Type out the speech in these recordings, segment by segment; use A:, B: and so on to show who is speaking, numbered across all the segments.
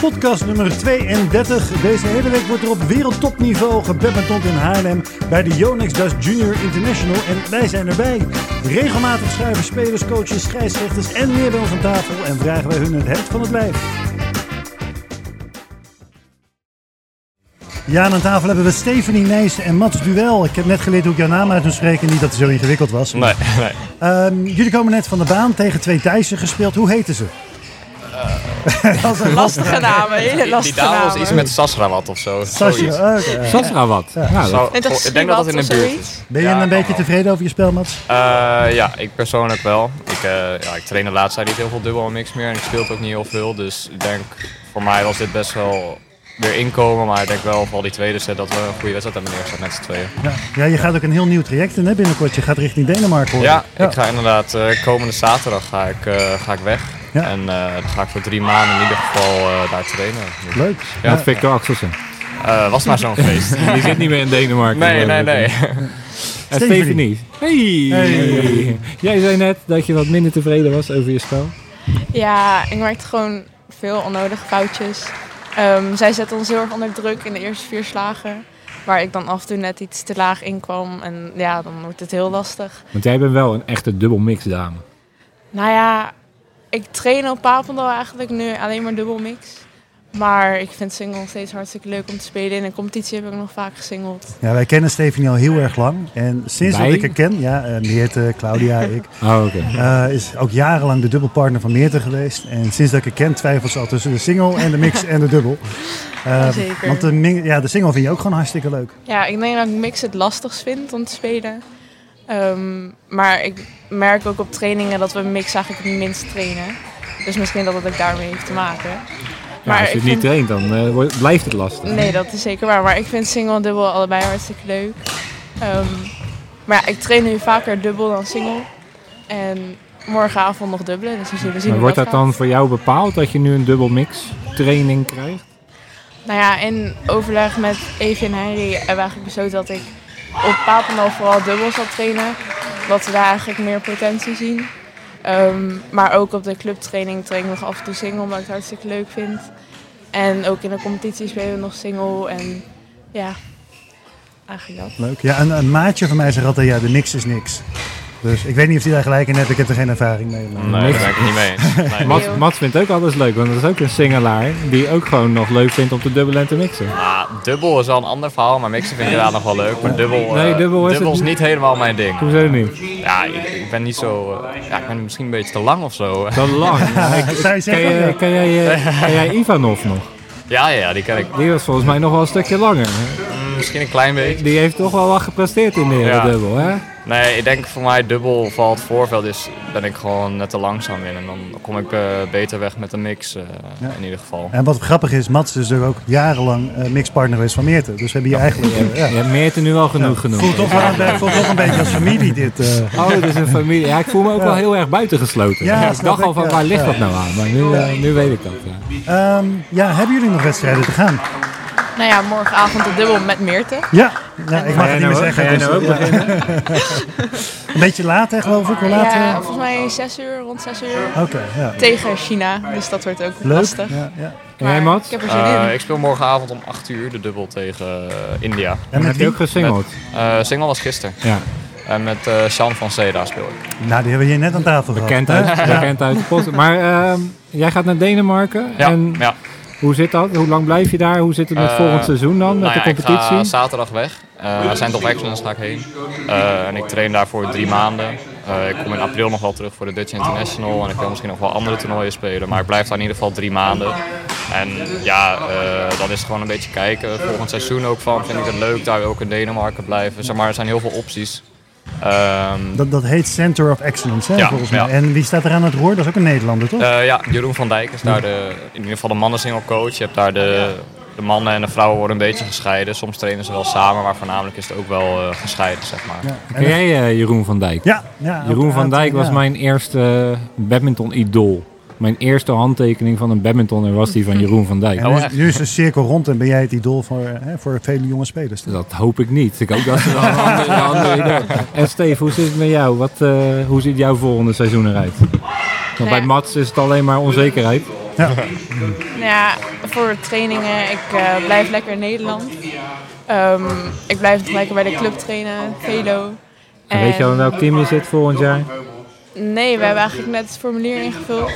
A: Podcast nummer 32. Deze hele week wordt er op wereldtopniveau gebadminton in Haarlem bij de Yonex Dust Junior International en wij zijn erbij. Regelmatig schuiven spelers, coaches, scheidsrechters en meer bij ons aan tafel en vragen wij hun het hemd van het lijf. Ja, en aan tafel hebben we Stephanie Nijssen en Mats Duel. Ik heb net geleerd hoe ik jouw naam uit moet spreken, niet dat het zo ingewikkeld was.
B: Nee, nee.
A: Ehm, jullie komen net van de baan tegen twee Thijssen gespeeld. Hoe heten ze? Dat is een
C: Lastige namen, hele
B: Die
C: lastige
B: dame was
C: namen.
B: iets met Sasrawat of zo.
A: Sasje.
B: Zoiets.
A: Oh, oké.
D: Sasra wat? Ja, dat-
B: Zo-
C: En dat is
B: Oh, ik denk dat dat in de
C: Sriwat of
B: buurt is.
C: zoiets?
A: Ben je
B: Ja,
A: een
B: kan
A: beetje
B: wel.
A: tevreden over je spel, Mats?
B: Eh, ja, ik persoonlijk wel. Ik, eh, ja, ik train de laatste tijd niet heel veel dubbel en niks meer. En ik speel ook niet heel veel. Dus ik denk, voor mij was dit best wel weer inkomen. Maar ik denk wel, vooral die tweede set, dat we een goede wedstrijd hebben neergezet met z'n tweeën.
A: Ja. ja, je gaat ook een heel nieuw traject in hè, binnenkort. Je gaat richting Denemarken hoor.
B: Ja, ik ga inderdaad, eh, komende zaterdag ga ik, eh, ga ik weg.
A: Ja.
B: En eh, dan ga ik voor drie maanden in ieder geval eh, daar trainen.
A: Leuk.
B: Ja.
D: Met Victor Axelsen.
B: Eh, was maar zo'n feest.
D: Die zit niet meer in Denemarken.
B: Nee, nee, nee.
D: En
A: Stephanie.
D: Steven niet. Hey.
A: Hey.
D: Jij zei net dat je wat minder tevreden was over je spel.
C: Ja, ik maakte gewoon veel onnodige foutjes. Ehm, zij zetten ons heel erg onder druk in de eerste vier slagen. Waar ik dan af en toe net iets te laag inkwam. En ja, dan wordt het heel lastig.
D: Want jij bent wel een echte dubbelmix dame.
C: Nou ja, ik train op Papendal eigenlijk nu alleen maar dubbelmix. Maar ik vind single nog steeds hartstikke leuk om te spelen. In een competitie heb ik nog vaak gesingeld.
A: Ja, wij kennen Stephanie al heel erg lang. En sinds
D: Wij?
A: dat ik haar ken, ja, eh, Meerte, Claudia, ik,
D: Oh, oké.
A: eh, is ook jarenlang de dubbelpartner van Meerte geweest. En sinds dat ik haar ken, twijfelt ze al tussen de single en de mix en de dubbel. Eh,
C: Zeker.
A: want de, ming- ja, de single vind je ook gewoon hartstikke leuk.
C: Ja, ik denk dat ik mix het lastigst vind om te spelen. Ehm, maar ik merk ook op trainingen dat we mix eigenlijk het minst trainen. Dus misschien dat het ook daarmee heeft te maken.
D: Ja,
C: Maar
D: als je
C: ik
D: het niet
C: vind-
D: traint, dan eh, wordt- blijft het lastig.
C: Nee, dat is zeker waar. Maar ik vind single en dubbel allebei hartstikke leuk. Ehm, maar ja, ik train nu vaker dubbel dan single. En morgenavond nog dubbelen, dus we zullen zien
D: Maar
C: hoe
D: wordt dat
C: dat
D: dan
C: gaat.
D: voor jou bepaald dat je nu een dubbelmix training krijgt?
C: Nou ja, in overleg met Evie en Henry hebben we eigenlijk besloten dat ik op Papendal vooral dubbel zal trainen. Omdat we daar eigenlijk meer potentie zien. Ehm, maar ook op de clubtraining train ik nog af en toe single, omdat ik het hartstikke leuk vind. En ook in de competitie spelen we nog single. En ja, eigenlijk dat.
A: Leuk. Ja, een, een maatje van mij zegt altijd, ja, de mix is niks. Dus ik weet niet of die daar gelijk in heeft. Ik heb er geen ervaring mee. maar-
B: Nee, daar ben ik het niet mee eens. Nee.
D: Mats,
C: Heel.
D: Mats vindt ook alles leuk, want dat is ook een singelaar die ook gewoon nog leuk vindt om te dubbelen en te mixen.
B: Ah, dubbel is wel een ander verhaal, maar mixen vind ik inderdaad nog wel leuk. Maar dubbel, eh,
D: Nee, dubbel is het
B: is
D: niet.
B: niet helemaal mijn ding.
D: Hoezo niet?
B: Ja, ik, ik ben niet zo... eh, ja, ik ben misschien een beetje te lang of zo.
D: Dat lang.
A: Zij
D: Ken,
A: zegt ook, ja.
D: jij- ken, jij, eh, ken jij Ivanov nog?
B: Ja, ja, die ken ik
D: Die was volgens mij nog wel een stukje langer.
B: misschien een klein beetje.
D: Die heeft toch wel wat gepresteerd in de dubbel, hè?
B: Nee, ik denk voor mij dubbel vooral het voorveld is, ben ik gewoon net te langzaam in. En dan kom ik eh, beter weg met de mix, eh, in ieder geval.
A: En wat grappig is, Mats is er ook jarenlang eh, mixpartner geweest van Meerte. Dus we hebben je eigenlijk... eh, ja.
D: Je hebt Meerte nu al genoeg genoemd.
A: Voelt toch wel een, be- voelt toch een beetje als familie dit. eh.
D: Oh, het is een familie. Ja, ik voel me ook wel heel erg buitengesloten.
A: Ja,
D: ik
A: snap
D: dacht
A: ik,
D: al van,
A: ja.
D: waar ligt
A: Ja.
D: dat nou aan? Maar nu, eh, nu weet ik dat, ja.
A: Ehm, ja, hebben jullie nog wedstrijden te gaan?
C: Nou ja, morgenavond op dubbel met Meerte.
A: Ja, nou, ik mag het niet
D: nou
A: meer
D: ook-
A: zeggen.
D: ga jij nou
A: dus, ja. een beetje laat, hè, geloof ik. Hoe laat?
C: Ja,
A: eh?
C: volgens mij 6 uur, rond 6 uur.
A: Oké, ja.
C: Tegen China, dus dat wordt ook
A: Leuk.
C: lastig.
A: Ja, ja.
D: En jij,
C: Maar
D: Mats?
C: Ik heb er zin
B: Eh,
C: in.
B: ik speel morgenavond om 8 uur de dubbel tegen eh, India.
A: En
D: heb
A: met
D: je
A: wie?
D: ook gesingeld?
B: Eh single was gisteren.
D: Ja,
B: En met eh Sean van Seda speel ik.
A: Nou, die hebben we hier net aan tafel
D: bekend
A: gehad.
D: uit, bekend uit de post. Maar ehm, jij gaat naar Denemarken.
B: Ja,
D: En
B: ja.
D: hoe zit dat? Hoe lang blijf je daar? Hoe zit het met
B: Eh,
D: volgend seizoen dan, met
B: Nou ja,
D: de competitie?
B: Ik ga zaterdag weg. Eh, Naar Center of Excellence ga ik heen. Eh, en ik train daar voor drie maanden. Eh, ik kom in april nog wel terug voor de Dutch International. En ik wil misschien nog wel andere toernooien spelen. Maar ik blijf daar in ieder geval drie maanden. En ja, eh, dan is het gewoon een beetje kijken. Volgend seizoen ook van. Vind ik het leuk daar ook in Denemarken blijven. Zeg maar, er zijn heel veel opties. Ehm,
A: Dat, dat heet Center of Excellence, hè,
B: Ja,
A: volgens mij.
B: ja.
A: En wie staat er aan het roer? Dat is ook een Nederlander, toch?
B: Eh, ja, Jeroen van Dijk is daar de, in ieder geval de mannensingle coach. Je hebt daar de, de mannen en de vrouwen worden een beetje gescheiden. Soms trainen ze wel samen, maar voornamelijk is het ook wel eh, gescheiden, zeg maar.
A: Ja. En-
D: Ken jij eh, Jeroen van Dijk?
A: ja, ja,
D: Jeroen
A: ook-
D: van Dijk was
A: ja.
D: mijn eerste badminton-idool. Mijn eerste handtekening van een badminton was die van Jeroen van Dijk.
A: En nu,
B: Oh,
A: is-
B: echt?
A: nu is de cirkel rond en ben jij het idool voor, eh, hè, voor vele jonge spelers. toch?
D: Dat hoop ik niet. Ik hoop dat ze dan een andere, een andere idee- En Steve, hoe zit het met jou? Wat, eh, hoe ziet jouw volgende seizoen eruit? Want
C: Nee.
D: bij Mats is het alleen maar onzekerheid.
C: Nou ja, voor trainingen, ik eh, blijf lekker in Nederland. Ehm, ik blijf nog lekker bij de club trainen, Velo.
D: En weet je
C: Eh.
D: al in welk team je zit volgend jaar?
C: Nee, we hebben eigenlijk net het formulier ingevuld.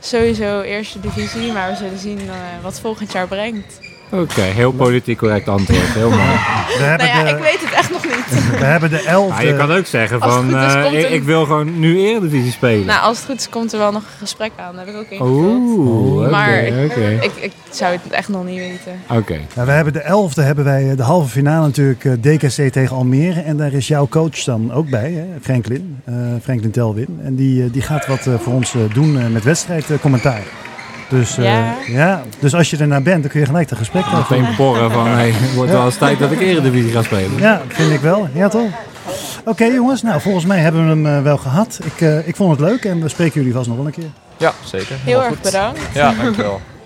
C: Sowieso eerste divisie, maar we zullen zien eh, wat volgend jaar brengt.
D: Oké, heel politiek correct antwoord. Heel mooi.
A: We hebben,
C: Nou ja,
A: de,
C: ik
D: eh,
C: weet het echt nog niet.
A: we hebben de
D: Maar
A: elfde.
D: je kan ook zeggen
C: Als het
D: van,
C: goed is,
D: eh,
C: komt
D: ik,
C: een-
D: ik wil gewoon nu Eredivisie spelen.
C: nou, als het goed is komt er wel nog een gesprek aan. Daar heb ik ook ingevuld.
D: Oeh, oké,
C: Maar
D: oké.
C: Ik, ik zou het echt nog niet weten.
D: Oké.
A: Nou, we hebben de elfde, hebben wij eh, de halve finale natuurlijk eh, DKC tegen Almere. En daar is jouw coach dan ook bij, hè? Franklin. eh, Franklin Telwin. En die, eh, die gaat wat eh, voor ons eh, doen eh, met wedstrijdcommentaar. Dus, eh,
C: Ja.
A: ja. dus als je ernaar bent, dan kun je gelijk dat gesprek over.
D: Meteen porren van, hey, het wordt wel eens tijd dat ik Eredivisie ga spelen.
A: Ja, vind ik wel. Ja, toch? Oké jongens, nou volgens mij hebben we hem eh, wel gehad. Ik, eh, ik vond het leuk en we spreken jullie vast nog wel een keer.
B: Ja, zeker.
C: Heel
D: Nou,
B: Helemaal
C: erg
B: goed.
C: bedankt.
B: Ja, dankjewel.